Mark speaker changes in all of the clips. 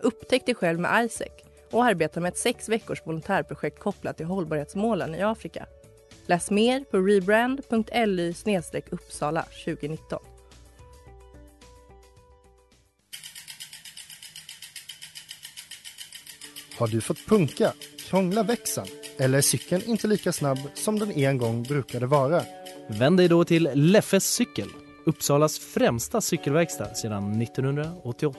Speaker 1: Upptäck dig själv med ISEC och arbeta med ett sex veckors volontärprojekt kopplat till hållbarhetsmålen i Afrika. Läs mer på rebrand.ly uppsala 2019.
Speaker 2: Har du fått punka, krångla växeln eller är cykeln inte lika snabb som den en gång brukade vara?
Speaker 3: Vänd dig då till Leffes cykel, Uppsalas främsta cykelverkstad sedan 1988.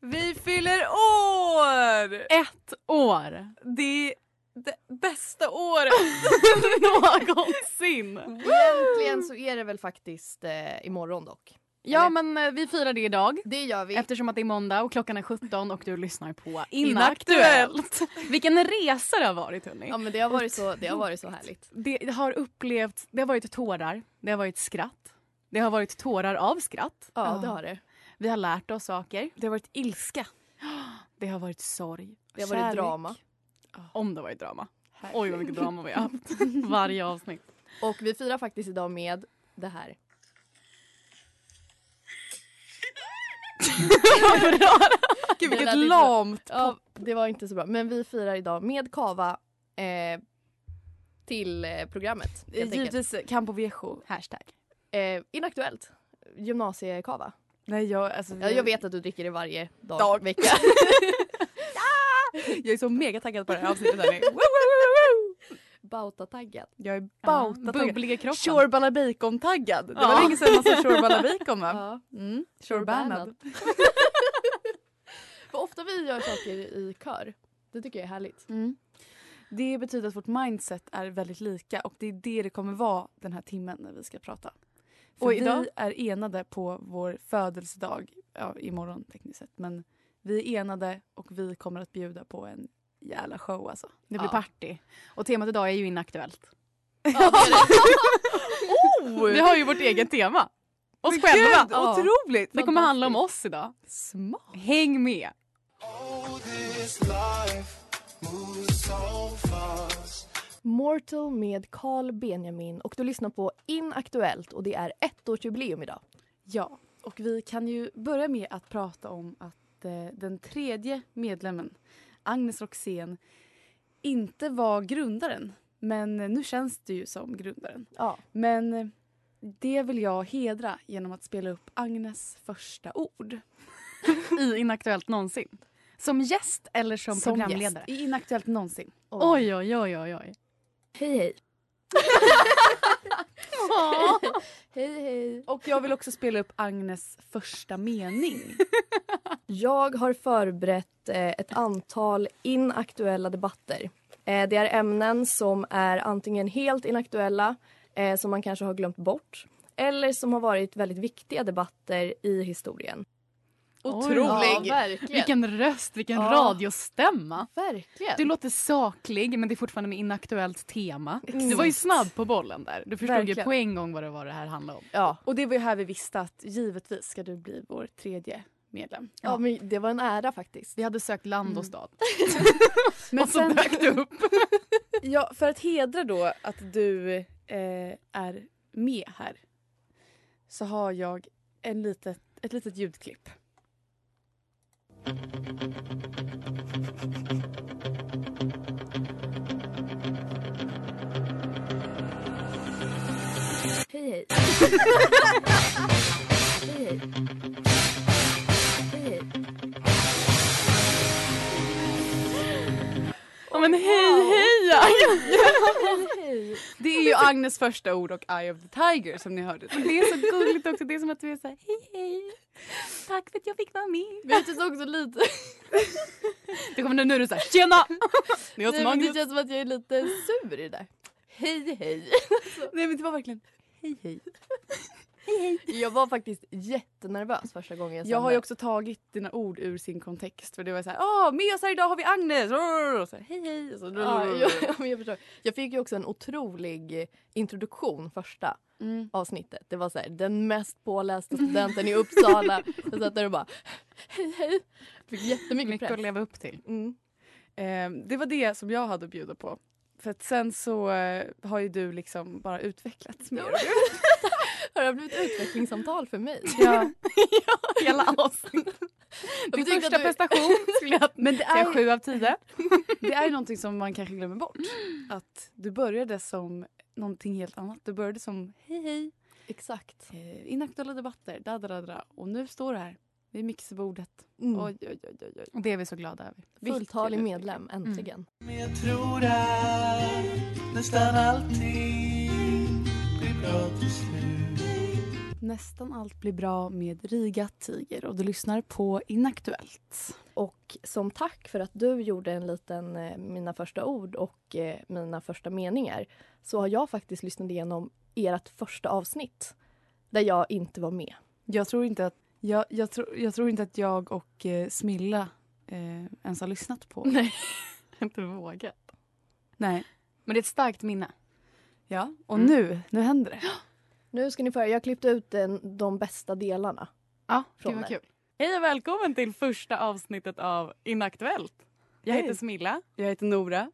Speaker 4: Vi fyller år!
Speaker 5: Ett år!
Speaker 4: Det är det bästa året
Speaker 5: Någonsin!
Speaker 6: Egentligen så är det väl faktiskt eh, imorgon dock.
Speaker 5: Ja, men eh, vi firar det idag.
Speaker 6: Det gör vi.
Speaker 5: Eftersom att det är måndag och klockan är 17 och du lyssnar på
Speaker 4: Inaktuellt.
Speaker 5: Inaktuellt. Vilken resa det har varit hörni.
Speaker 6: Ja men det har varit så, det har varit så härligt.
Speaker 5: Det har upplevt, det har varit tårar, det har varit skratt. Det har varit tårar av skratt.
Speaker 6: Ja det har det.
Speaker 5: Vi har lärt oss saker.
Speaker 4: Det har varit ilska.
Speaker 5: Det har varit sorg.
Speaker 6: Det har varit
Speaker 5: Kärlek.
Speaker 6: drama.
Speaker 5: Om det har varit drama. Oj vad mycket drama vi har haft. Varje avsnitt.
Speaker 6: Och vi firar faktiskt idag med det här.
Speaker 4: Gud
Speaker 6: Det
Speaker 4: vilket
Speaker 6: lät inte-
Speaker 4: lamt.
Speaker 6: Ja, det var inte så bra. Men vi firar idag med kava eh, till eh, programmet. Helt enkelt.
Speaker 4: Givetvis Campo Viejo.
Speaker 5: Hashtag.
Speaker 6: eh, inaktuellt. Gymnasiekava.
Speaker 4: Nej jag, alltså,
Speaker 6: Ja, jag vet att du dricker det varje dag,
Speaker 4: Dag.
Speaker 6: vecka.
Speaker 4: jag är så mega taggad på det här avsnittet hörni. Woo!
Speaker 6: Bautataggad.
Speaker 4: Jag är
Speaker 5: Ja,
Speaker 4: bautataggad.
Speaker 5: Bubblig i kroppen.
Speaker 4: Shorbana bacon-taggad. Det var
Speaker 5: Ja.
Speaker 4: länge sedan man sa shorbana bacon va?
Speaker 6: Ja.
Speaker 4: Mm. Shorbanad.
Speaker 6: För ofta vi gör saker i kör. Det tycker jag är härligt.
Speaker 5: Mm.
Speaker 4: Det betyder att vårt mindset är väldigt lika och det är det det kommer vara den här timmen när vi ska prata. För
Speaker 5: Och idag-
Speaker 4: vi är enade på vår födelsedag, ja, imorgon tekniskt sett, men vi är enade och vi kommer att bjuda på en jävla show alltså.
Speaker 5: Det blir
Speaker 6: Ja.
Speaker 5: party. Och temat idag är ju inaktuellt.
Speaker 6: Ja, det är det.
Speaker 5: Vi har ju vårt eget tema. Oss
Speaker 4: Men
Speaker 5: själva.
Speaker 4: Gud,
Speaker 7: typ
Speaker 4: otroligt!
Speaker 5: Det kommer handla om oss idag.
Speaker 4: Smart.
Speaker 5: Häng med!
Speaker 6: Mortal med Carl Benjamin och du lyssnar på Inaktuellt och det är ettårsjubileum idag.
Speaker 4: Ja, och vi kan ju börja med att prata om att eh, den tredje medlemmen, Agnes Roxén, inte var grundaren. Men eh, nu känns det ju som grundaren.
Speaker 6: Ja.
Speaker 4: Men eh, det vill jag hedra genom att spela upp Agnes första ord.
Speaker 5: I Inaktuellt någonsin. Som gäst eller som, programledare?
Speaker 4: gäst i Inaktuellt någonsin.
Speaker 5: Oj, oj, oj, oj. oj.
Speaker 6: Hej hej. hej hej.
Speaker 4: Och jag vill också spela upp Agnes första mening.
Speaker 6: Jag har förberett eh, ett antal inaktuella debatter. Eh, det är ämnen som är antingen helt inaktuella, eh, som man kanske har glömt bort eller som har varit väldigt viktiga debatter i historien.
Speaker 5: Otrolig.
Speaker 6: Ja, verkligen.
Speaker 5: Vilken röst, vilken
Speaker 6: Ja.
Speaker 5: radiostämma.
Speaker 6: Verkligen.
Speaker 5: Du låter saklig men det är fortfarande med inaktuellt tema. Du var ju snabb på bollen där. Du förstod ju
Speaker 4: Verkligen.
Speaker 5: på en gång vad det var det här handlade om.
Speaker 6: ja.
Speaker 4: Och det var ju här vi visste att givetvis ska du bli vår tredje medlem.
Speaker 6: ja, men det var en ära faktiskt.
Speaker 5: Vi hade sökt land och stad.
Speaker 4: Men
Speaker 5: Mm. och så
Speaker 4: sen,
Speaker 5: dök du upp.
Speaker 4: ja, för att hedra då att du eh, är med här så har jag en litet, ett litet ljudklipp.
Speaker 6: Hej hej.
Speaker 5: Ja, men hej, hej Agnes!
Speaker 6: Hej.
Speaker 5: Det är ju Agnes första ord och Eye of the Tiger som ni hörde. Men typ- det är så gulligt också. Det är som att du är så här, hej hej. Tack för att jag fick vara med.
Speaker 6: Men jag tyckte också lite...
Speaker 5: Det kommer nu, nu är du så här, tjena! Det är jag som
Speaker 6: Nej, men det
Speaker 5: Alltså, Magnus.
Speaker 6: känns som att jag är lite sur i det där. Hej hej.
Speaker 5: Nej men det var verkligen, hej hej.
Speaker 6: Jag var faktiskt jättenervös första gången jag
Speaker 5: Jag har
Speaker 6: sände.
Speaker 5: ju också tagit dina ord ur sin kontext. För det var så här, åh med oss här idag har vi Agnes! Rrrr, Och så här, hej hej! Och så,
Speaker 6: Ja, jag, jag, förstår. jag fick ju också en otrolig introduktion första
Speaker 5: Mm.
Speaker 6: avsnittet. Det var så här, den mest pålästa studenten i Uppsala. Jag satt där och bara hej hej. Fick jättemycket
Speaker 5: Mycket att
Speaker 6: press.
Speaker 5: leva upp till.
Speaker 6: Mm.
Speaker 5: Eh, det var det som jag hade att bjuda på. För att sen så eh, har ju du liksom bara utvecklats mer.
Speaker 6: Har det blivit utvecklingssamtal för mig?
Speaker 5: Ja. Hela avsnittet.
Speaker 6: Jag
Speaker 5: Din
Speaker 6: tyckte
Speaker 5: första
Speaker 6: att du-
Speaker 5: prestation skulle jag
Speaker 6: Men det
Speaker 5: säga sju av tio. Det är ju någonting som man kanske glömmer bort. Att du började som någonting helt annat. Du började som hej hej,
Speaker 6: Exakt.
Speaker 5: eh, inaktuella debatter, da, da, da, da. och nu står du här vid mixerbordet.
Speaker 6: Mm.
Speaker 5: Oj, oj, oj, oj, oj.
Speaker 4: Och det är vi så glada över.
Speaker 5: Vilken
Speaker 6: Fulltalig
Speaker 5: utveckling.
Speaker 6: medlem, äntligen.
Speaker 5: Nästan allt blir bra med Riga Tiger och du lyssnar på Inaktuellt.
Speaker 6: Och som tack för att du gjorde en liten eh, Mina första ord och eh, Mina första meningar så har jag faktiskt lyssnat igenom ert första avsnitt där jag inte var med.
Speaker 5: Jag tror inte att jag, jag, tror, jag tror inte att jag och eh, Smilla eh, ens har lyssnat på.
Speaker 4: Nej. Inte våga.
Speaker 5: Nej.
Speaker 4: Men det är ett starkt minne.
Speaker 5: Ja. Och
Speaker 4: Mm.
Speaker 5: nu, nu händer det.
Speaker 6: Nu ska ni få höra, jag klippte ut den, de bästa delarna.
Speaker 4: Ja,
Speaker 6: Från
Speaker 4: det var
Speaker 6: mig.
Speaker 4: kul. Hej och välkommen till första avsnittet av Inaktuellt. Jag heter
Speaker 5: Hej.
Speaker 4: Smilla.
Speaker 5: Jag heter Nora.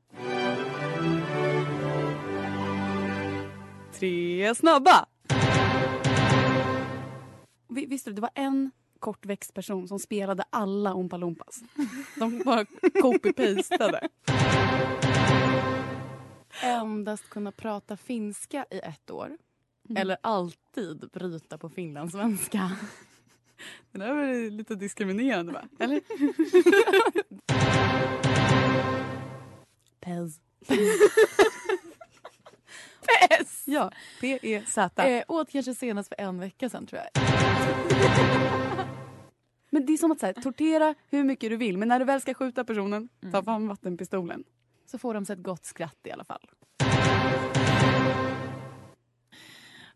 Speaker 4: Tre snabba!
Speaker 5: Vi- Visste du, det var en kortväxt person som spelade alla Oompa Loompas. De bara copy-pastade.
Speaker 4: Endast kunna prata finska i ett år.
Speaker 5: Mm.
Speaker 4: Eller alltid bryta på finlandssvenska.
Speaker 5: Det där var ju lite diskriminerande, va? Eller? Pez. Pez! Ja, E P-E-Z.
Speaker 4: Eh, åt kanske senast för en vecka sen tror jag.
Speaker 5: Men det är som att så här, tortera hur mycket du vill men när du väl ska skjuta personen, ta fram vattenpistolen.
Speaker 4: Mm. Så får de sig ett gott skratt i alla fall.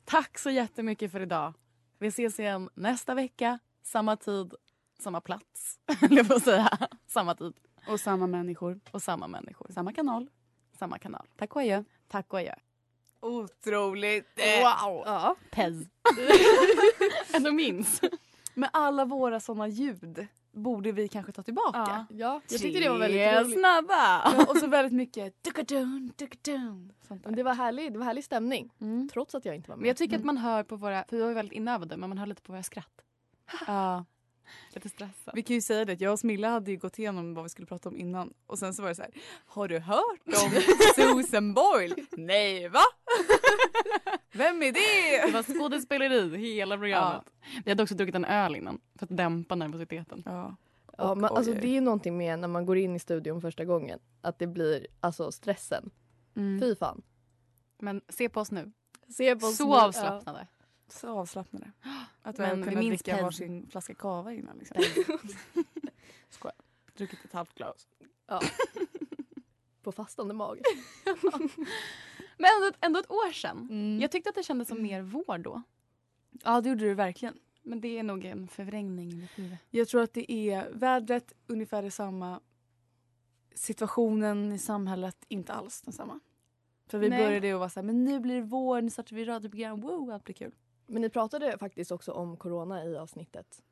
Speaker 4: Tack så jättemycket för idag. Vi ses igen nästa vecka. Samma tid, samma plats. Eller vad säga. Samma tid
Speaker 5: Och samma människor,
Speaker 4: och samma människor.
Speaker 5: samma kanal.
Speaker 4: Samma kanal.
Speaker 5: Tack och adjö.
Speaker 4: Tack och adjö.
Speaker 5: Otroligt!
Speaker 4: Wow! Pez. Ändå minns.
Speaker 5: Men alla våra såna ljud borde vi kanske ta tillbaka.
Speaker 6: Ja, jag tyckte det var
Speaker 4: Tre
Speaker 6: väldigt roligt.
Speaker 4: snabba!
Speaker 5: Ja, Och så väldigt mycket tukadun, tukadun. Sånt
Speaker 6: Men
Speaker 5: där.
Speaker 6: Det var, härlig, det var härlig stämning,
Speaker 5: Mm.
Speaker 6: trots att jag inte var
Speaker 4: Men
Speaker 6: med.
Speaker 4: jag tycker att man hör på våra, för vi var ju väldigt inövade, men man hör lite på våra skratt.
Speaker 5: Ja.
Speaker 4: Lite stressad.
Speaker 5: Vi kan ju säga det att jag och Smilla hade ju gått igenom vad vi skulle prata om innan och sen så var det så här. Har du hört om Susan Boyle? Nej va? Vem är
Speaker 4: Det
Speaker 5: det?
Speaker 4: var skådespeleri hela programmet. Vi hade också druckit en öl innan för att dämpa nervositeten.
Speaker 5: Ja.
Speaker 6: ja,
Speaker 5: Och-
Speaker 6: man, alltså,
Speaker 5: oj.
Speaker 6: det är ju någonting med när man går in i studion första gången, att det blir alltså stressen.
Speaker 5: Mm.
Speaker 6: Fy fan.
Speaker 4: Men se på oss nu.
Speaker 6: Se på oss nu.
Speaker 4: Så
Speaker 6: Ja.
Speaker 4: avslappnade.
Speaker 5: Så avslappnade. Att vi
Speaker 4: Men
Speaker 5: hade
Speaker 4: vi
Speaker 5: kunnat
Speaker 4: minns
Speaker 5: dricka
Speaker 4: Pez.
Speaker 5: varsin flaska cava innan. Liksom. Skoj. Druckit ett halvt glas.
Speaker 6: På fastande mage.
Speaker 4: Men ändå, ändå ett år sedan.
Speaker 5: Mm.
Speaker 4: Jag tyckte att det kändes som mer vår då.
Speaker 5: Ja det gjorde du verkligen.
Speaker 4: Men det är nog en förvrängning i mitt huvud.
Speaker 5: Jag tror att det är vädret ungefär detsamma. Situationen i samhället inte alls densamma. För vi
Speaker 4: Nej.
Speaker 5: började ju vara så här, men nu blir det vår, nu startar vi radioprogram, wow alltså, allt blir kul.
Speaker 6: Men ni pratade faktiskt också om corona i avsnittet.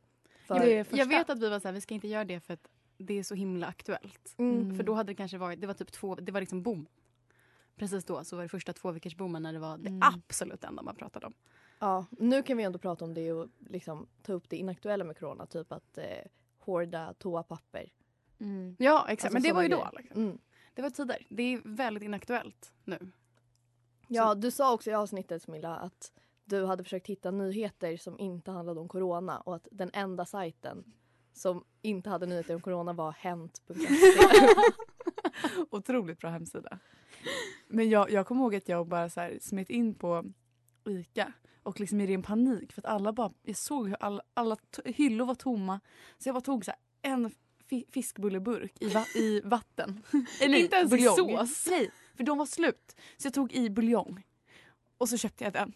Speaker 6: För,
Speaker 5: Det är första.
Speaker 4: Jag vet att vi var så här, vi ska inte göra det för att det är så himla aktuellt.
Speaker 6: mm,
Speaker 4: För då hade det kanske varit, det var typ två, det var liksom boom. Precis då så var det första två veckors boomen när det var det
Speaker 5: Mm.
Speaker 4: absolut enda man pratade om.
Speaker 6: ja, nu kan vi ändå prata om det och liksom ta upp det inaktuella med corona. Typ att eh, hårda toapapper.
Speaker 4: Ja exakt,
Speaker 6: Alltså,
Speaker 4: men det
Speaker 6: såna
Speaker 4: var ju då.
Speaker 6: grejer.
Speaker 4: Liksom.
Speaker 6: Mm.
Speaker 4: Det var tider. Det är väldigt inaktuellt nu.
Speaker 6: Ja, du sa också i avsnittet Smilla att du hade försökt hitta nyheter som inte handlade om corona och att den enda sajten som inte hade nyheter om corona var hent.se.
Speaker 5: Otroligt bra hemsida. Men jag, jag kommer ihåg att jag bara så här smet in på ICA och liksom i ren panik för att alla bara, jag såg hur alla, alla t- hyllor var tomma så jag bara tog så här en fi- fiskbulleburk i, va- i vatten. Eller
Speaker 8: Inte ens i
Speaker 5: buljong.
Speaker 8: sås.
Speaker 5: Nej, för de var slut. Så jag tog i buljong och så köpte jag den.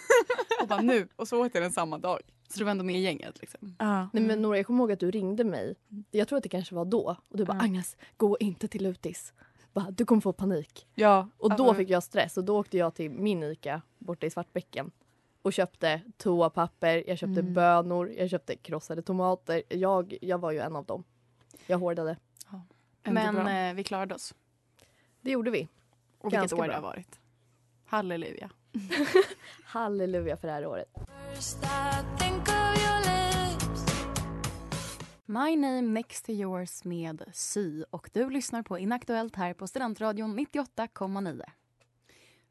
Speaker 8: Och bara nu. Och så åt jag den samma dag. Så du var ändå med i gänget liksom.
Speaker 6: Nej men Nora, jag kommer ihåg att du ringde mig. Jag tror att det kanske var då. Och du bara
Speaker 8: Ja.
Speaker 6: Agnes, gå inte till Lutis. Bara, du kommer få panik.
Speaker 5: Ja,
Speaker 6: Och då
Speaker 5: alltså-
Speaker 6: fick jag stress och då åkte jag till min ICA borta i Svartbäcken och köpte toapapper, jag köpte
Speaker 5: Mm.
Speaker 6: bönor, jag köpte krossade tomater. Jag, jag var ju en av dem. Jag hårdade.
Speaker 5: Ändå
Speaker 8: Men
Speaker 5: bra.
Speaker 8: eh, vi klarade oss.
Speaker 6: Det gjorde vi.
Speaker 8: Och vilket
Speaker 6: Ganska
Speaker 8: år
Speaker 6: bra.
Speaker 8: det har varit. Halleluja.
Speaker 6: Halleluja för det här året.
Speaker 4: My name next to yours med Sy och du lyssnar på Inaktuellt här på Studentradion 98,9.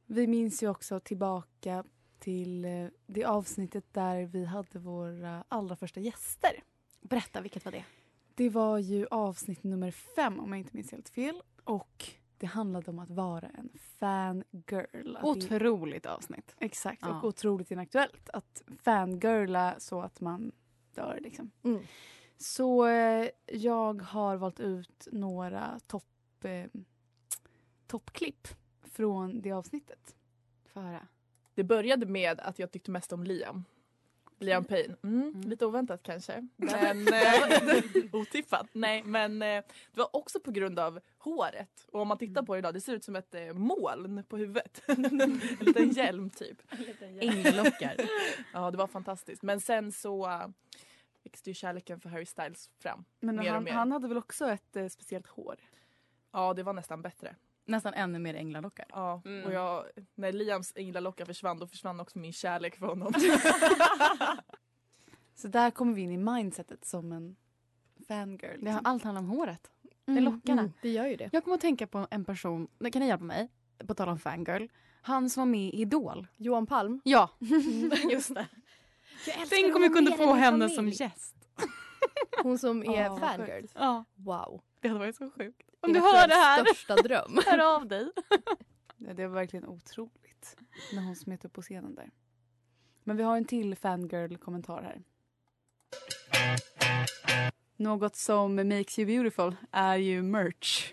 Speaker 5: Vi minns ju också tillbaka till eh, det avsnittet där vi hade våra allra första gäster.
Speaker 4: Berätta, vilket var det?
Speaker 5: Det var ju avsnitt nummer fem om jag inte minns helt fel. Och det handlade om att vara en fangirl. Att det-
Speaker 4: Otroligt avsnitt.
Speaker 5: Exakt,
Speaker 4: Ja.
Speaker 5: och otroligt inaktuellt. Att fangirla så att man dör liksom.
Speaker 6: Mm.
Speaker 5: Så eh, jag har valt ut några topp, eh, toppklipp från det avsnittet.
Speaker 4: Få höra.
Speaker 7: Det började med att jag tyckte mest om Liam. Liam Payne. Mm,
Speaker 4: Mm.
Speaker 7: Lite oväntat kanske. Men, eh, otippat. Nej, men eh, det var också på grund av håret. Och om man tittar på det idag, det ser ut som ett eh, moln på huvudet. en liten hjälm typ.
Speaker 4: Änglockar.
Speaker 7: Ja, det var fantastiskt. Men sen så eh, växte ju kärleken för Harry Styles fram.
Speaker 5: Men
Speaker 7: Mer och
Speaker 5: han,
Speaker 7: mer.
Speaker 5: han hade väl också ett eh, speciellt hår?
Speaker 7: Ja, det var nästan bättre.
Speaker 4: Nästan ännu mer änglalockar.
Speaker 7: Ja,
Speaker 4: Mm.
Speaker 7: och jag, när Liams änglalockar försvann, då försvann också min kärlek för honom.
Speaker 5: Så där kommer vi in i mindsetet som en fangirl.
Speaker 4: Det har
Speaker 5: liksom.
Speaker 4: allt handlar om håret.
Speaker 5: Mm,
Speaker 4: Det är lockarna.
Speaker 6: Mm, det gör ju det.
Speaker 4: Jag kommer att tänka på en person, Nej, kan ni hjälpa mig? På tal om fangirl. Han som var med i Idol.
Speaker 6: Johan Palm.
Speaker 4: Ja.
Speaker 6: Just det.
Speaker 4: Tänk om vi kunde få henne som gäst.
Speaker 6: Hon som är
Speaker 5: Ja,
Speaker 6: fangirl.
Speaker 4: Ja.
Speaker 6: Wow.
Speaker 4: Det hade varit så sjukt. Om du
Speaker 6: Min
Speaker 4: hör
Speaker 6: absolut
Speaker 4: det här,
Speaker 6: största dröm.
Speaker 4: hör av dig.
Speaker 5: Ja, Det var verkligen otroligt när hon smet upp på scenen där. Men vi har en till fangirl-kommentar här. Något som makes you beautiful är ju merch.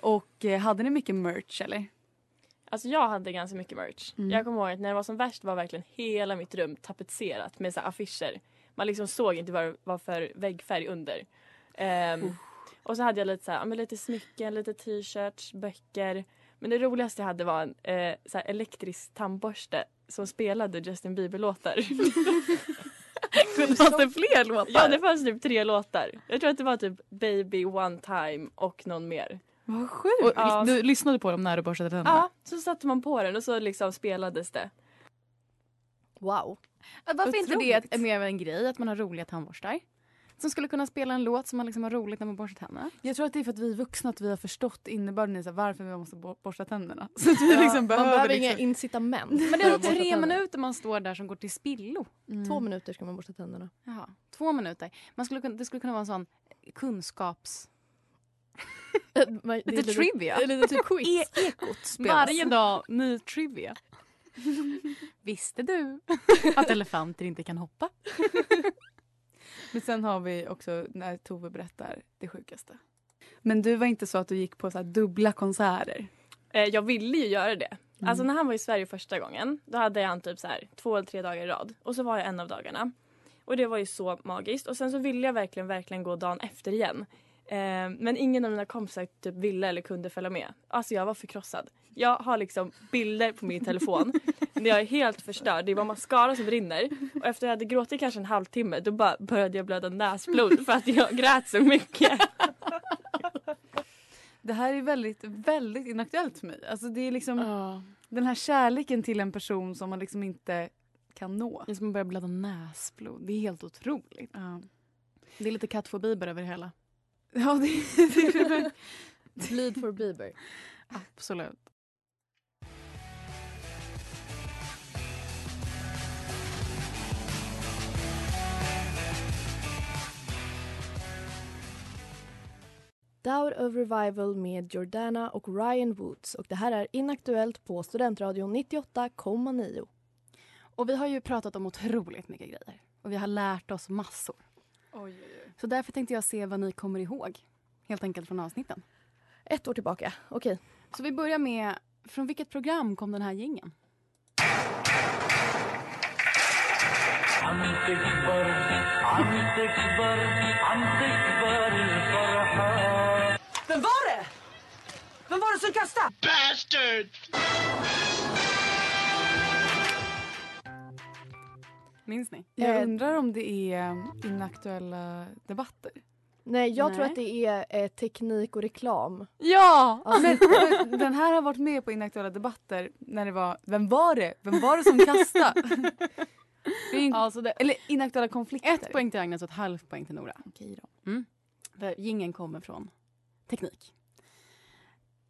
Speaker 5: Och eh, hade ni mycket merch eller?
Speaker 9: Alltså jag hade ganska mycket merch.
Speaker 5: Mm.
Speaker 9: Jag kommer ihåg att när det var som värst var verkligen hela mitt rum tapetserat med så här affischer. Man liksom såg inte vad det var för väggfärg under. Ehm, Och så hade jag lite, så här, ja, men lite smycken, lite t-shirts, böcker. Men det roligaste jag hade var en eh, så här elektrisk tandborste som spelade Justin Bieber-låtar.
Speaker 4: Fanns det fler låtar?
Speaker 9: ja, det fanns typ tre låtar. Jag tror att det var typ Baby, One Time och någon mer.
Speaker 5: Vad sjukt!
Speaker 4: Och
Speaker 9: Ja.
Speaker 4: Du lyssnade på dem när du borstade tänderna?
Speaker 9: Ja, så satte man på den och så liksom spelades det.
Speaker 6: Wow.
Speaker 4: Varför inte det
Speaker 5: Otroligt.
Speaker 4: är mer av en grej, att man har roliga tandborstar? Som skulle kunna spela en låt som man liksom har roligt när man borstar tänderna.
Speaker 5: Jag tror att det är för att vi är vuxna att vi har förstått innebörden i så här, varför vi måste bo- borsta tänderna. Så att vi liksom
Speaker 6: Man
Speaker 5: behöver,
Speaker 6: behöver
Speaker 5: liksom...
Speaker 6: inga incitament.
Speaker 4: Men det
Speaker 6: för
Speaker 4: är
Speaker 6: att borsta
Speaker 4: tre
Speaker 6: tänderna.
Speaker 4: minuter man står där som går till spillo.
Speaker 6: Två minuter ska man borsta tänderna.
Speaker 4: Jaha, två minuter. Man skulle, kunna- det skulle kunna vara en sån kunskaps...
Speaker 6: Man- Äh, det är
Speaker 4: Mm. Lite trivia.
Speaker 6: Eller lite typ quiz.
Speaker 4: E- ekot spelas. Varje dag ny trivia. Visste du att elefanter inte kan hoppa?
Speaker 5: Men sen har vi också när Tove berättar det sjukaste. Men du var inte så att du gick på så här dubbla konserter?
Speaker 9: Eh, jag ville ju göra det. Alltså
Speaker 6: Mm.
Speaker 9: när han var i Sverige första gången då hade jag han typ så här, två eller tre dagar i rad och så var jag en av dagarna. Och det var ju så magiskt och sen så ville jag verkligen verkligen gå dagen efter igen. Eh, men ingen av mina kompisar typ ville eller kunde följa med. Alltså jag var förkrossad. Jag har liksom bilder på min telefon när jag är helt förstörd. Det var mascara som brinner och efter jag hade gråtit kanske en halvtimme då bara började jag blöda näsblod för att jag grät så mycket.
Speaker 5: Det här är väldigt, väldigt inaktuellt för mig. Alltså det är liksom den här kärleken till en person som man liksom inte kan nå.
Speaker 4: Det är som att börja blöda näsblod. Det är helt otroligt.
Speaker 5: Ja,
Speaker 4: Det är lite kattfobi bara över det hela.
Speaker 5: ja det, det är väl-
Speaker 6: Bleed for Bieber.
Speaker 4: Absolut.
Speaker 6: Doubt of Revival med Jordana och Ryan Woods. Och det här är Inaktuellt på Studentradion 98,9.
Speaker 5: Och vi har ju pratat om otroligt mycket grejer. Och vi har lärt oss massor.
Speaker 10: Oj, oj, oj.
Speaker 5: Så därför tänkte jag se vad ni kommer ihåg. Helt enkelt från avsnitten.
Speaker 6: Ett år tillbaka, okej.
Speaker 5: Så vi börjar med, från vilket program kom den här gingen?
Speaker 11: Vem var det? Vem var det som kastade? Bastard!
Speaker 10: Minns ni?
Speaker 4: Jag
Speaker 5: Eh,
Speaker 10: Jag
Speaker 4: undrar om det är ehm, inaktuella debatter.
Speaker 6: Nej, jag tror
Speaker 4: Nej.
Speaker 6: att det är eh, teknik och reklam.
Speaker 4: Ja!
Speaker 6: Ja.
Speaker 4: Men, men den här har varit med på inaktuella debatter när det var Vem var det? Vem var det som kastade? Det är ju- Eller inaktuella konflikter.
Speaker 5: Ett poäng till Agnes och ett halvt poäng till Nora. Okej då. Mm. För Gingen kommer från teknik.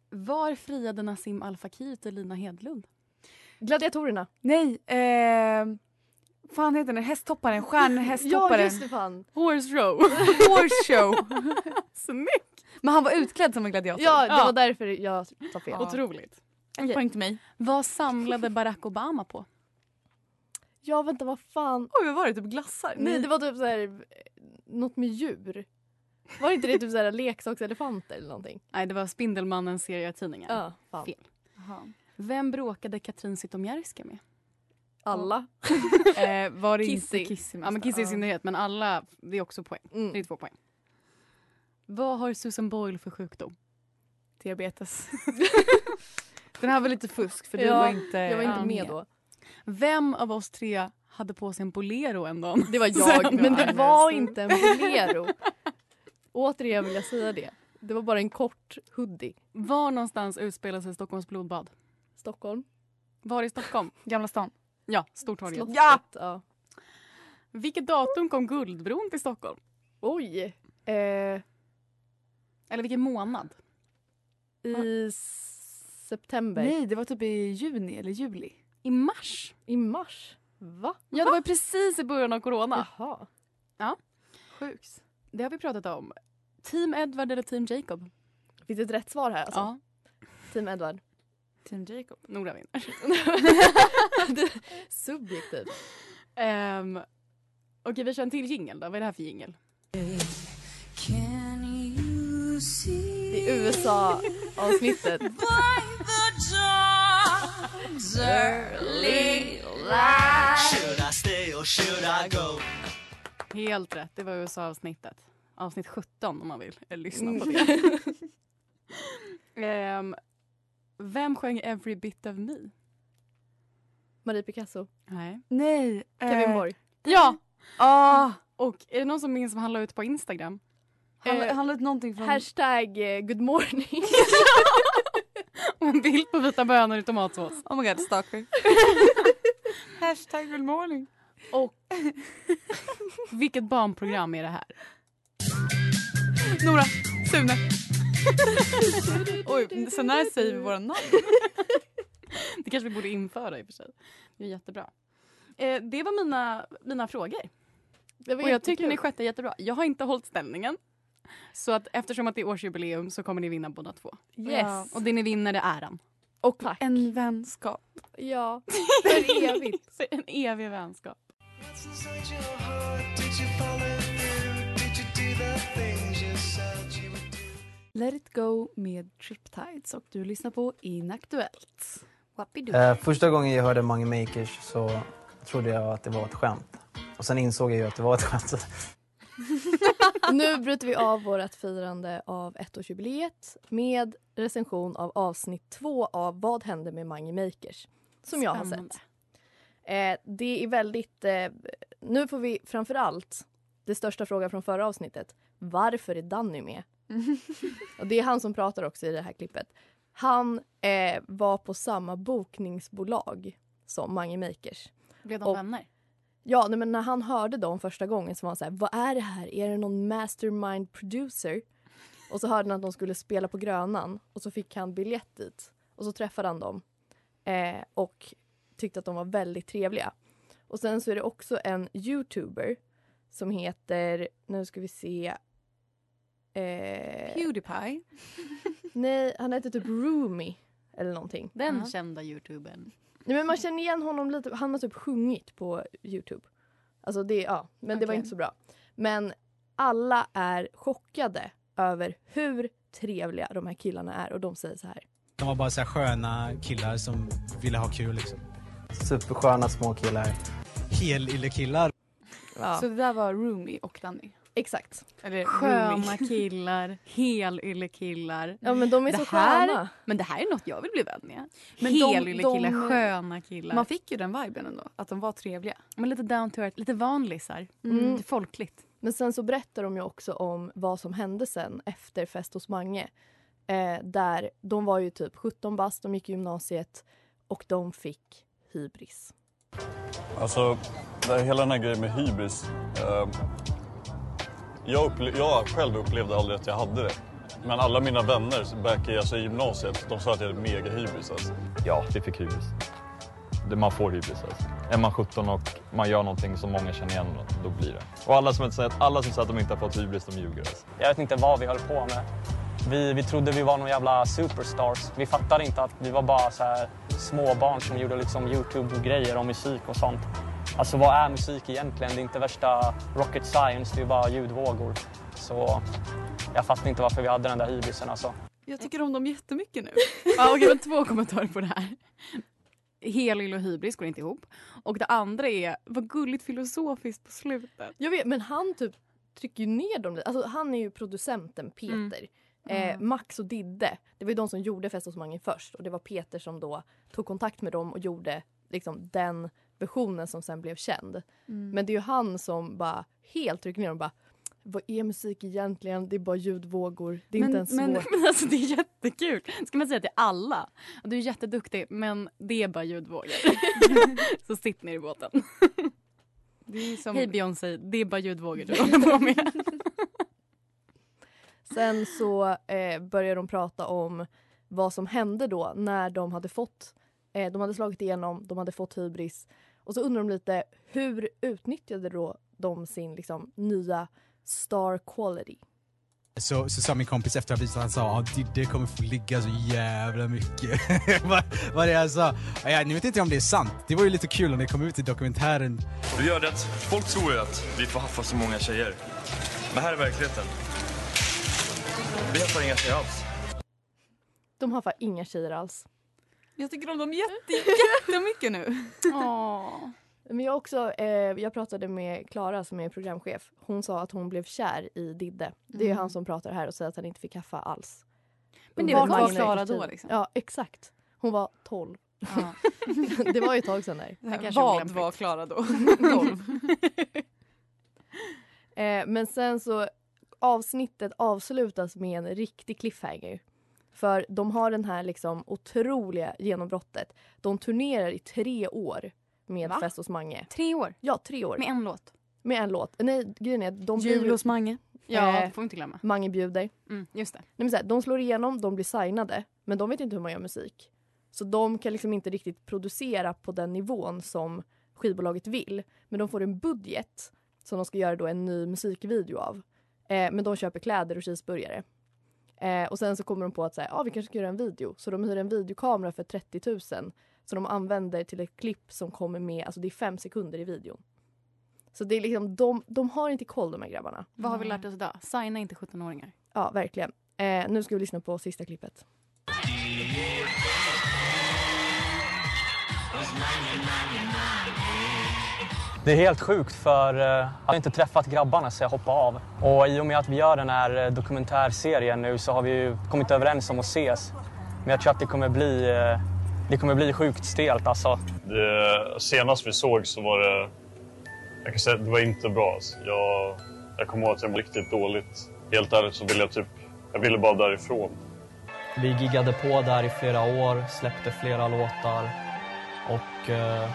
Speaker 5: Var friade Nassim Al Fakir till Lina Hedlund?
Speaker 6: Gladiatorerna.
Speaker 4: Nej, eh, fan heter den? Hästhopparen, stjärnhästhopparen.
Speaker 6: Ja, just det fan.
Speaker 4: Horse row. Horse show. Snyggt! Men han var utklädd som en gladiator.
Speaker 6: Ja, det var därför jag sa fel.
Speaker 5: Otroligt.
Speaker 4: En poäng till mig.
Speaker 5: Vad samlade Barack Obama på?
Speaker 6: Ja, vänta vad fan.
Speaker 4: Oj, vad var det? Typ glassar?
Speaker 6: Nej, det var typ så här, eh, något med djur. Var inte det typ så här leksakselefanter eller någonting?
Speaker 5: Nej, det var Spindelmannens serietidningar.
Speaker 6: Ja, fan.
Speaker 5: Fel. Vem bråkade Katrin Zytomierska med?
Speaker 6: Alla.
Speaker 5: eh, var
Speaker 4: det inte Kissy
Speaker 5: Ja, men Kissy i
Speaker 4: mest? Ja.
Speaker 5: synnerhet, men alla, det är också poäng. Det är två poäng. Vad har Susan Boyle för sjukdom?
Speaker 4: Diabetes. den här var lite fusk för du
Speaker 5: Ja,
Speaker 4: var inte
Speaker 5: jag var inte med då. Vem av oss tre hade på sig en bolero en dag?
Speaker 6: Det var jag, men det var inte en bolero. Återigen vill jag säga det. Det var bara en kort hoodie.
Speaker 5: Var någonstans utspelar sig Stockholms blodbad?
Speaker 6: Stockholm.
Speaker 5: Var i Stockholm? Gamla stan? Ja, Stortorget.
Speaker 6: Slottet, ja.
Speaker 5: Vilket datum kom Guldbron till Stockholm?
Speaker 6: Oj. Eh,
Speaker 5: Eller vilken månad?
Speaker 6: I september.
Speaker 4: Nej, det var typ i juni eller juli.
Speaker 5: I mars?
Speaker 6: I mars? Va?
Speaker 5: Ja, det var ju precis i början av corona.
Speaker 6: Jaha.
Speaker 5: Ja. Sjukt. Det har vi pratat om. Team Edward eller Team Jacob?
Speaker 6: Finns det ett rätt svar här alltså?
Speaker 5: Ja.
Speaker 6: Team Edward.
Speaker 4: Team Jacob.
Speaker 5: Nora vinner.
Speaker 6: Subjektivt.
Speaker 5: Ehm, Okej, vi kör en till jingel då. Vad är det här för jingel?
Speaker 6: Det är USA-avsnittet.
Speaker 11: Should I stay or should I go?
Speaker 5: Helt rätt, det var USA-avsnittet. Avsnitt 17 om man vill eh, lyssna på
Speaker 11: Mm.
Speaker 5: det. Ehm, vem sjöng Every bit of me?
Speaker 6: Marie Picasso.
Speaker 5: Nej.
Speaker 4: Nej. eh,
Speaker 6: Kevin Borg.
Speaker 5: Ja!
Speaker 4: Ah.
Speaker 5: Och är det någon som minns vad han la ut på Instagram?
Speaker 4: Han,
Speaker 5: Eh,
Speaker 4: han la ut någonting från...
Speaker 6: Hashtag eh, good morning.
Speaker 5: Och en bild på vita bönor i tomatsås.
Speaker 4: Oh my god, stalker. Hashtag good morning.
Speaker 5: Och vilket barnprogram är det här?
Speaker 4: Nora, Sune. Oj, så när säger vi våra namn?
Speaker 5: Det kanske vi borde införa i och för sig. Det är jättebra. Eh, det var mina, mina frågor.
Speaker 6: Det var
Speaker 5: och jag
Speaker 6: jättekul.
Speaker 5: tycker ni skötte jättebra. Jag har inte hållit ställningen. Så att eftersom att det är årsjubileum så kommer ni vinna båda två.
Speaker 6: Yes.
Speaker 5: Och det ni vinner är äran.
Speaker 6: Och Tack.
Speaker 4: en vänskap.
Speaker 6: Ja, för evigt.
Speaker 5: För en evig vänskap.
Speaker 4: Let it go med Triptides och du lyssnar på Inaktuellt. Wappidu.
Speaker 12: Eh, första gången jag hörde Mange Makers så trodde jag att det var ett skämt. Och sen insåg jag ju att det var ett skämt.
Speaker 6: Nu bryter vi av vårt firande av ettårsjubileet med recension av avsnitt två av Vad hände med Mange Makers? Som jag har
Speaker 5: Spännande.
Speaker 6: sett. Eh, det är väldigt... Eh, nu får vi framför allt det största frågan från förra avsnittet. Varför är Danny med? Och det är han som pratar också i det här klippet. Han eh, var på samma bokningsbolag som Mange Makers.
Speaker 5: Blev
Speaker 6: de
Speaker 5: vänner?
Speaker 6: Ja, nej, men när han hörde dem första gången så var han så här, vad är det här? Är det någon mastermind producer? Och så hörde han att de skulle spela på Grönan och så fick han biljett dit. Och så träffade han dem eh, och tyckte att de var väldigt trevliga. Och sen så är det också en youtuber som heter, nu ska vi se, Eh,
Speaker 10: Pewdiepie?
Speaker 6: nej, han hette typ Roomy eller någonting.
Speaker 5: Den kända youtubern.
Speaker 6: Nej, men man känner igen honom lite. Han har typ sjungit på Youtube. Alltså det, ja, men det var
Speaker 5: Okej.
Speaker 6: inte så bra. Men alla är chockade över hur trevliga de här killarna är och de säger så här.
Speaker 13: De var bara så här sköna killar som ville ha kul. Liksom.
Speaker 12: Supersköna små killar.
Speaker 13: Helyllekillar.
Speaker 6: Ja.
Speaker 4: Så det där var Roomy och Danny?
Speaker 6: Exakt.
Speaker 4: Eller
Speaker 5: Sköna
Speaker 4: Roomy.
Speaker 5: killar, helyllekillar.
Speaker 6: Ja, men de är
Speaker 5: det
Speaker 6: så
Speaker 5: här,
Speaker 6: sköna.
Speaker 5: Men det här är något jag vill bli vän med.
Speaker 4: Men de-
Speaker 5: Helyllekillar,
Speaker 4: de-
Speaker 5: sköna killar.
Speaker 4: Man fick ju den viben ändå, att de var trevliga.
Speaker 5: Men lite down to earth, lite vanlisar.
Speaker 6: Mm.
Speaker 5: Lite folkligt.
Speaker 6: Men sen så berättar de ju också om vad som hände sen efter Fest hos Mange. Eh, där de var ju typ 17 bast, de gick i gymnasiet och de fick hybris.
Speaker 14: Alltså, det här, hela den här grejen med hybris. Eh, jag, upple- jag själv upplevde aldrig att jag hade det. Men alla mina vänner back i, alltså, i gymnasiet, de sa att jag hade mega hybris. Alltså.
Speaker 15: Ja, vi fick hybris. Det- Man får hybris alltså. Är man 17 och man gör någonting som många känner igen, då blir det. Och alla som, inte säger, alla som säger att de inte har fått hybris, de ljuger alltså.
Speaker 16: Jag vet inte vad vi höll på med. Vi, vi trodde vi var någon jävla superstars. Vi fattade inte att vi var bara så här småbarn som gjorde liksom Youtube-grejer om musik och sånt. Alltså vad är musik egentligen? Det är inte värsta rocket science, det är bara ljudvågor. Så jag fattar inte varför vi hade den där hybrisen alltså.
Speaker 4: Jag tycker om dem jättemycket nu.
Speaker 5: Ja, okej, men två kommentarer på det här. Helyll och hybris går inte ihop. Och det andra är, vad gulligt filosofiskt på slutet.
Speaker 6: Jag vet, men han typ trycker ju ner dem lite. Alltså han är ju producenten Peter. Eh,
Speaker 5: Mm.
Speaker 6: Max och Didde, det var ju de som gjorde Fest hos Mange först och det var Peter som då tog kontakt med dem och gjorde liksom den versionen som sen blev känd.
Speaker 5: Mm.
Speaker 6: Men det är ju han som bara helt trycker ner dem och bara vad är musik egentligen? Det är bara ljudvågor. Det är inte
Speaker 5: men,
Speaker 6: ens
Speaker 5: men,
Speaker 6: svårt.
Speaker 5: men alltså det är jättekul. Ska man säga till alla. Du är jätteduktig men det är bara ljudvågor. så sitt ner i båten.
Speaker 4: Det är som...
Speaker 5: Hej Beyoncé, det är bara ljudvågor du håller på med.
Speaker 6: Sen så eh, började de prata om vad som hände då när de hade fått eh, de hade slagit igenom, de hade fått hybris. Och så undrar de lite hur utnyttjade då de sin liksom, nya star quality?
Speaker 13: Så, så sa min kompis efter att han sa "Ah, Didde kommer få ligga så jävla mycket. vad, vad det är jag sa. Ja, jag- nu vet inte om det är sant. Det var ju lite kul om det kom ut i dokumentären.
Speaker 17: Du gör det. Folk tror ju att vi får haffa så många tjejer. Men här är verkligheten. Vi haffar inga tjejer alls.
Speaker 6: De har fan inga tjejer alls.
Speaker 4: Jag tycker om dem jätte, jättemycket nu.
Speaker 6: Men jag, också, eh, jag pratade med Klara som är programchef. Hon sa att hon blev kär i Didde. Det är
Speaker 5: Mm.
Speaker 6: han som pratar här och säger att han inte fick kaffa alls.
Speaker 5: Men det
Speaker 6: Undrar
Speaker 5: var
Speaker 6: vad
Speaker 5: kvar
Speaker 6: hon är
Speaker 5: Klara
Speaker 6: i
Speaker 5: då,
Speaker 6: tid.
Speaker 5: liksom.
Speaker 6: Ja, exakt. Hon var 12. det var ju ett tag sedan där.
Speaker 4: Det här kanske är Vad olämpligt. var Klara då? Tolv.
Speaker 6: eh, men sen så avsnittet avslutas med en riktig cliffhanger. För de har den här liksom otroliga genombrottet. De turnerar i tre år med
Speaker 5: Va?
Speaker 6: Fest hos Mange.
Speaker 5: Tre år?
Speaker 6: Ja, tre år.
Speaker 5: Med en låt?
Speaker 6: Med en låt. Nej, grejen är att de blir
Speaker 5: Jul
Speaker 6: ju-
Speaker 5: hos Mange. Ja, det får vi inte glömma.
Speaker 6: Mange bjuder.
Speaker 5: Mm, just det.
Speaker 6: Nej, men så här, de slår igenom, de blir signade, men de vet inte hur man gör musik. Så de kan liksom inte riktigt producera på den nivån som skivbolaget vill. Men de får en budget som de ska göra då en ny musikvideo av. Eh, men de köper kläder och cheeseburgare. Eh, och sen så kommer de på att så här, ah, vi kanske ska göra en video. Så de hyr en videokamera för 30 000 som de använder till ett klipp som kommer med, alltså det är fem sekunder i videon. Så det är liksom, de, de har inte koll de här grabbarna.
Speaker 5: Vad har vi lärt oss idag? Signa inte 17-åringar.
Speaker 6: Ja, verkligen. Eh, nu ska vi lyssna på sista klippet.
Speaker 16: Det är helt sjukt för eh, jag har inte träffat grabbarna så jag hoppade av. Och i och med att vi gör den här eh, dokumentärserien nu så har vi ju kommit överens om att ses. Men jag tror att det kommer bli, eh, det kommer bli sjukt stelt alltså.
Speaker 14: Det, senast vi såg så var det... Jag kan säga att det var inte bra. Alltså. Jag, jag kommer ihåg att jag mådde riktigt dåligt. Helt ärligt så ville jag typ... Jag ville bara därifrån.
Speaker 16: Vi giggade på där i flera år, släppte flera låtar och eh,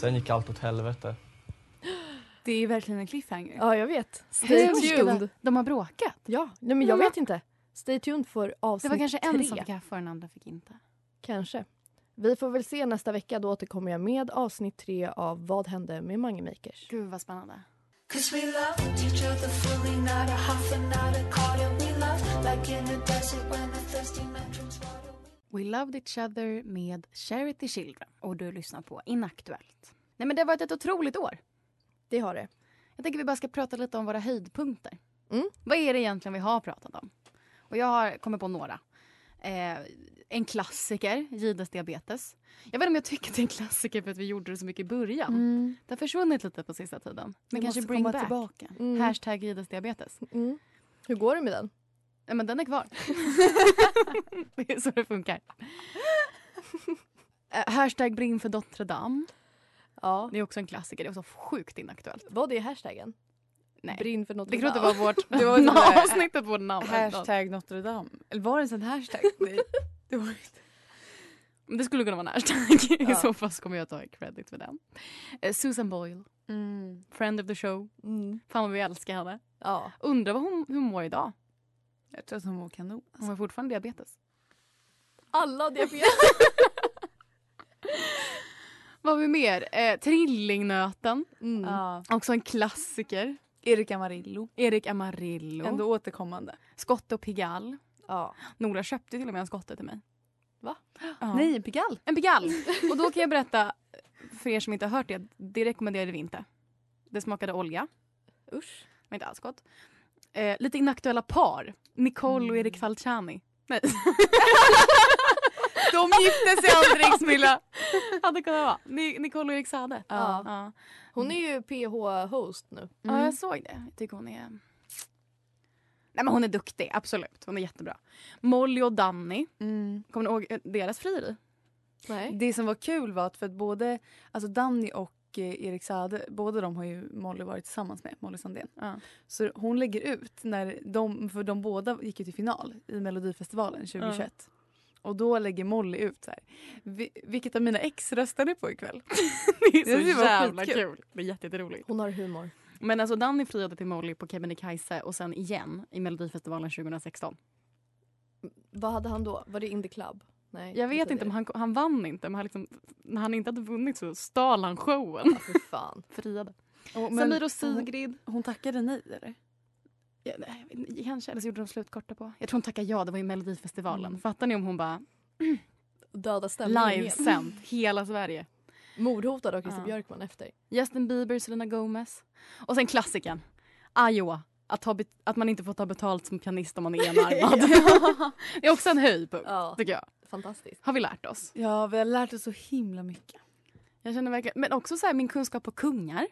Speaker 16: sen gick allt åt helvete.
Speaker 4: Det är verkligen en cliffhanger.
Speaker 6: Ja, jag vet.
Speaker 4: Hur
Speaker 6: Stay
Speaker 4: ska
Speaker 6: tuned.
Speaker 5: De har bråkat?
Speaker 6: Ja, nej, men jag
Speaker 5: Men-
Speaker 6: vet inte. Stay tuned för
Speaker 5: Mm. Det
Speaker 6: avsnitt
Speaker 5: var kanske en
Speaker 6: tre.
Speaker 5: som fick kaffe och den andra fick inte.
Speaker 6: Kanske. Vi får väl se nästa vecka. Då återkommer jag med avsnitt tre av Vad hände med Mange Makers.
Speaker 5: Gud vad spännande.
Speaker 18: Cause we love each other fully, not a half and not a quarter. We love like in the desert when the thirsty man drinks water.
Speaker 5: We loved each other med Charity Children och du lyssnar på Inaktuellt. Nej men det har varit ett otroligt år.
Speaker 6: Det har det.
Speaker 5: Jag tänker vi bara ska prata lite om våra höjdpunkter.
Speaker 6: Mm.
Speaker 5: Vad är det egentligen vi har pratat om? Och jag har kommit på några. Eh, en klassiker, Gides diabetes. Jag vet inte om jag tycker att det är en klassiker för att vi gjorde det så mycket i början.
Speaker 6: Mm.
Speaker 5: Det har försvunnit lite på sista tiden. Men
Speaker 6: Vi
Speaker 5: kanske
Speaker 6: måste
Speaker 5: bring
Speaker 6: komma
Speaker 5: back.
Speaker 6: tillbaka. Mm.
Speaker 5: Hashtag Gides diabetes.
Speaker 6: Hur går det med den?
Speaker 5: Nej, men den är kvar. det är så det funkar. Eh, hashtag bring för Notre Dame.
Speaker 6: Ja.
Speaker 5: Det är också en klassiker. Det är också sjukt inaktuellt.
Speaker 6: Vad är hashtaggen?
Speaker 5: Nej.
Speaker 6: Brinn för något
Speaker 5: Det tror jag
Speaker 6: bra.
Speaker 5: inte var vårt
Speaker 6: Det var inte det.
Speaker 5: avsnittet på vårt namn.
Speaker 4: Hashtag Notre Dame. Eller var det ens en hashtag? Nej. Det var inte.
Speaker 5: Men det skulle kunna vara en hashtag. I
Speaker 4: Ja.
Speaker 5: så fall så kommer jag ta credit för den. Eh, Susan Boyle.
Speaker 4: Mm.
Speaker 5: Friend of the show. Fan vad vi älskar henne.
Speaker 6: Mm. Ja.
Speaker 5: Undrar vad hon, hur hon mår idag.
Speaker 4: Jag tror att hon mår kanon. alltså.
Speaker 5: Hon har fortfarande diabetes.
Speaker 6: Alla har diabetes.
Speaker 5: Vad har vi mer? Eh, trillingnöten.
Speaker 4: Ja.
Speaker 5: Också en klassiker.
Speaker 4: Erik Amarillo.
Speaker 5: Erik Amarillo.
Speaker 4: Ändå återkommande.
Speaker 5: Skotte och Pigalle.
Speaker 6: Ja.
Speaker 5: Nora köpte till och med en skotte till mig.
Speaker 6: Va?
Speaker 5: Ja.
Speaker 4: Nej, en Pigalle.
Speaker 5: En Pigalle. Och då kan jag berätta för er som inte har hört det. Det rekommenderade vi inte. Det smakade olja.
Speaker 6: Usch.
Speaker 5: Men inte alls gott. Eh, lite inaktuella par. Nicole och Erik Falciani. Nej.
Speaker 4: De gifte sig aldrig, Smilla.
Speaker 5: Hade kunnat vara. Ni- Nicole och Erik Sade.
Speaker 6: Ja.
Speaker 5: ja. Mm.
Speaker 6: Hon är ju PH-host nu.
Speaker 4: Mm.
Speaker 5: Ja, jag såg det. Jag tycker hon är... Nej, men hon är duktig. Absolut. Hon är jättebra. Molly och Danny. Kommer ni ihåg eh, deras frieri?
Speaker 6: Nej.
Speaker 4: Mm. Det som var kul var att för att både alltså Danny och eh, Erik Sade, båda de har ju Molly varit tillsammans med, Molly Sandén. Så hon lägger ut, när de, för de båda gick ju till final i Melodifestivalen 2021. Och då lägger Molly ut så här. "Vi- Vilket av mina ex röstar ni på ikväll?
Speaker 5: Det är
Speaker 4: Det
Speaker 5: så
Speaker 4: var
Speaker 5: jävla
Speaker 4: skitkul.
Speaker 5: kul. Det är jätte- jätteroligt.
Speaker 6: Hon har humor.
Speaker 5: Men alltså Danny friade till Molly på Kebnekaise och sen igen i Melodifestivalen 2016.
Speaker 6: Vad hade han då? Var det In the Club? Nej.
Speaker 5: Jag vet
Speaker 6: det
Speaker 5: inte,
Speaker 6: är
Speaker 5: men han, han vann inte. Men han liksom, när han inte hade vunnit så stal han showen.
Speaker 6: Fy fan.
Speaker 5: Friade.
Speaker 4: Och,
Speaker 5: Samir och Sigrid.
Speaker 4: Hon, hon tackade nej eller?
Speaker 5: Ja, nej, jag vet inte, kanske, eller så gjorde de slut korta på. Jag tror hon tackade ja, det var ju Melodifestivalen. Mm. Fattar ni om hon bara
Speaker 6: Döda stämningen.
Speaker 5: livesänd hela Sverige?
Speaker 6: Mordhotad av Christer
Speaker 5: Ja.
Speaker 6: Björkman efter.
Speaker 5: Justin Bieber, Selena Gomez. Och sen klassiken. Iowa. Att, ha bet- att man inte får ta betalt som pianist om man är enarmad. det är också en höjdpunkt,
Speaker 6: Ja.
Speaker 5: tycker jag.
Speaker 6: Fantastiskt.
Speaker 5: Har vi lärt oss.
Speaker 4: Ja, vi har lärt oss så himla mycket.
Speaker 5: Jag känner verkligen, men också så här, min kunskap på kungar.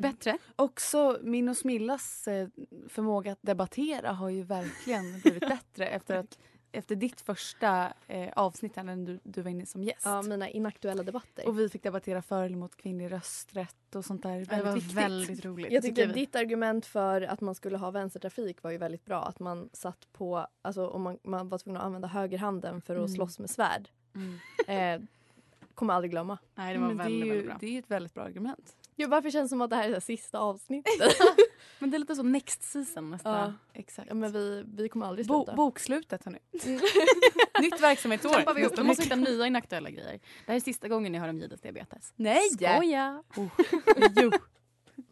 Speaker 5: Bättre.
Speaker 4: Också min och Smillas eh, förmåga att debattera har ju verkligen blivit bättre efter, att, efter ditt första eh, avsnitt här när du, du var inne som gäst.
Speaker 6: Ja, mina inaktuella debatter.
Speaker 4: Och vi fick debattera för eller emot kvinnlig rösträtt och sånt där. Väldigt
Speaker 5: var
Speaker 4: viktigt.
Speaker 5: väldigt roligt.
Speaker 6: Jag tyckte
Speaker 5: vi.
Speaker 6: ditt argument för att man skulle ha vänstertrafik var ju väldigt bra. Att man satt på, alltså om man, man var tvungen att använda högerhanden för att
Speaker 4: Mm.
Speaker 6: slåss med svärd. Eh, kommer aldrig glömma.
Speaker 5: Nej, Mm, det var
Speaker 4: Men
Speaker 5: väldigt,
Speaker 4: det är ju,
Speaker 5: väldigt bra.
Speaker 4: Det är ju ett väldigt bra argument.
Speaker 6: Ja, varför känns det som att det här är det här sista avsnittet?
Speaker 5: Men det är lite så next season nästan.
Speaker 6: ja,
Speaker 4: exakt.
Speaker 6: Ja, men vi, vi kommer aldrig
Speaker 4: Bo,
Speaker 6: sluta.
Speaker 4: bokslutet hörni. Nytt verksamhetsår.
Speaker 5: Trampar vi upp.
Speaker 4: nästa
Speaker 5: Vi måste
Speaker 4: vecka.
Speaker 5: hitta nya inaktuella grejer. Det här är sista gången ni hör om Gides diabetes.
Speaker 4: Nej!
Speaker 5: Skoja!
Speaker 4: Jo.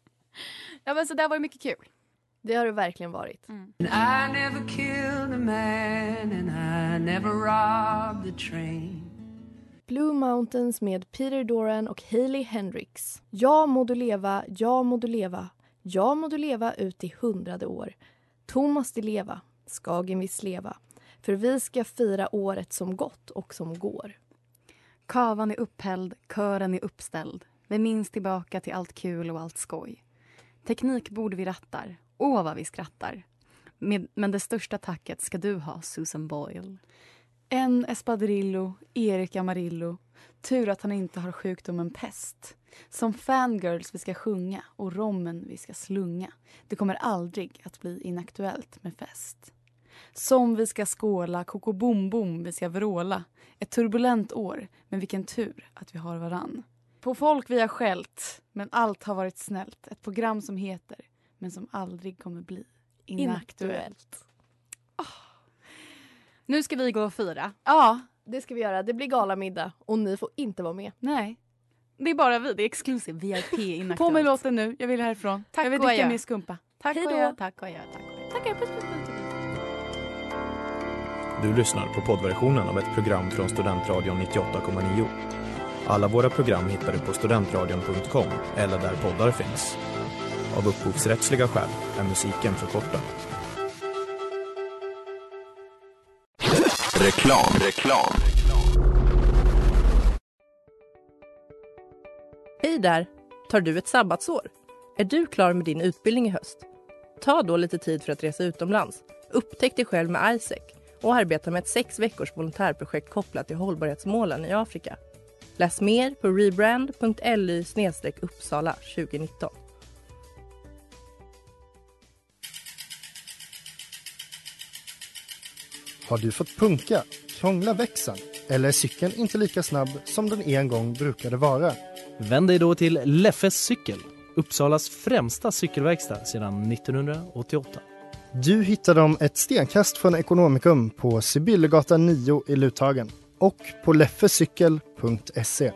Speaker 5: Ja, men så där var det mycket kul.
Speaker 6: Det har det verkligen varit.
Speaker 4: Mm.
Speaker 11: I never killed a man and I never robbed a train.
Speaker 6: Blue Mountains med Peter Doran och Hailey Hendrix. Ja må du leva, ja må du leva, ja må du leva ut i hundrade år. Thomas di leva, Skagen vi leva. För vi ska fira året som gått och som går.
Speaker 5: Kavan är upphälld, kören är uppställd. Vi minns tillbaka till allt kul och allt skoj. Teknikbord vi rattar, åh vad vi skrattar. Med, men det största tacket ska du ha, Susan Boyle.
Speaker 4: En espadrillo, Erik Amarillo. Tur att han inte har sjukdomen pest. Som fangirls vi ska sjunga och rommen vi ska slunga. Det kommer aldrig att bli inaktuellt med fest. Som vi ska skåla, koko bom bom vi ska vråla. Ett turbulent år, men vilken tur att vi har varann. På folk vi har skällt, men allt har varit snällt. Ett program som heter, men som aldrig kommer bli inaktuellt.
Speaker 5: Nu ska vi gå och fira.
Speaker 4: Ja,
Speaker 6: det ska vi göra. Det blir galamiddag och ni får inte vara med.
Speaker 4: Nej.
Speaker 5: Det är bara vi, det är exklusiv VIP inaktuellt.
Speaker 4: På med låten nu, jag vill härifrån.
Speaker 5: Tack
Speaker 4: jag vill
Speaker 5: och
Speaker 4: dricka
Speaker 5: adjö.
Speaker 4: mer skumpa.
Speaker 5: Tack
Speaker 4: Hej
Speaker 5: och
Speaker 4: då.
Speaker 5: adjö, tack och adjö, tack och adjö. Tack och adjö, puss, puss, puss.
Speaker 14: Du lyssnar på poddversionen av ett program från Studentradion 98,9. Alla våra program hittar du på studentradion.com eller där poddar finns. Av upphovsrättsliga skäl är musiken förkortad.
Speaker 19: Reklam, reklam.
Speaker 1: Hej där! Tar du ett sabbatsår? Är du klar med din utbildning i höst? Ta då lite tid för att resa utomlands. Upptäck dig själv med ISEC och arbeta med ett sex veckors volontärprojekt kopplat till hållbarhetsmålen i Afrika. Läs mer på rebrand.ly uppsala 2019.
Speaker 2: Har du fått punka, krångla växeln eller är cykeln inte lika snabb som den en gång brukade vara?
Speaker 3: Vänd dig då till Leffes cykel, Uppsalas främsta cykelverkstad sedan 1988.
Speaker 2: Du hittar dem ett stenkast från Ekonomikum på Sibyllegatan 9 i Luthagen och på leffecykel.se.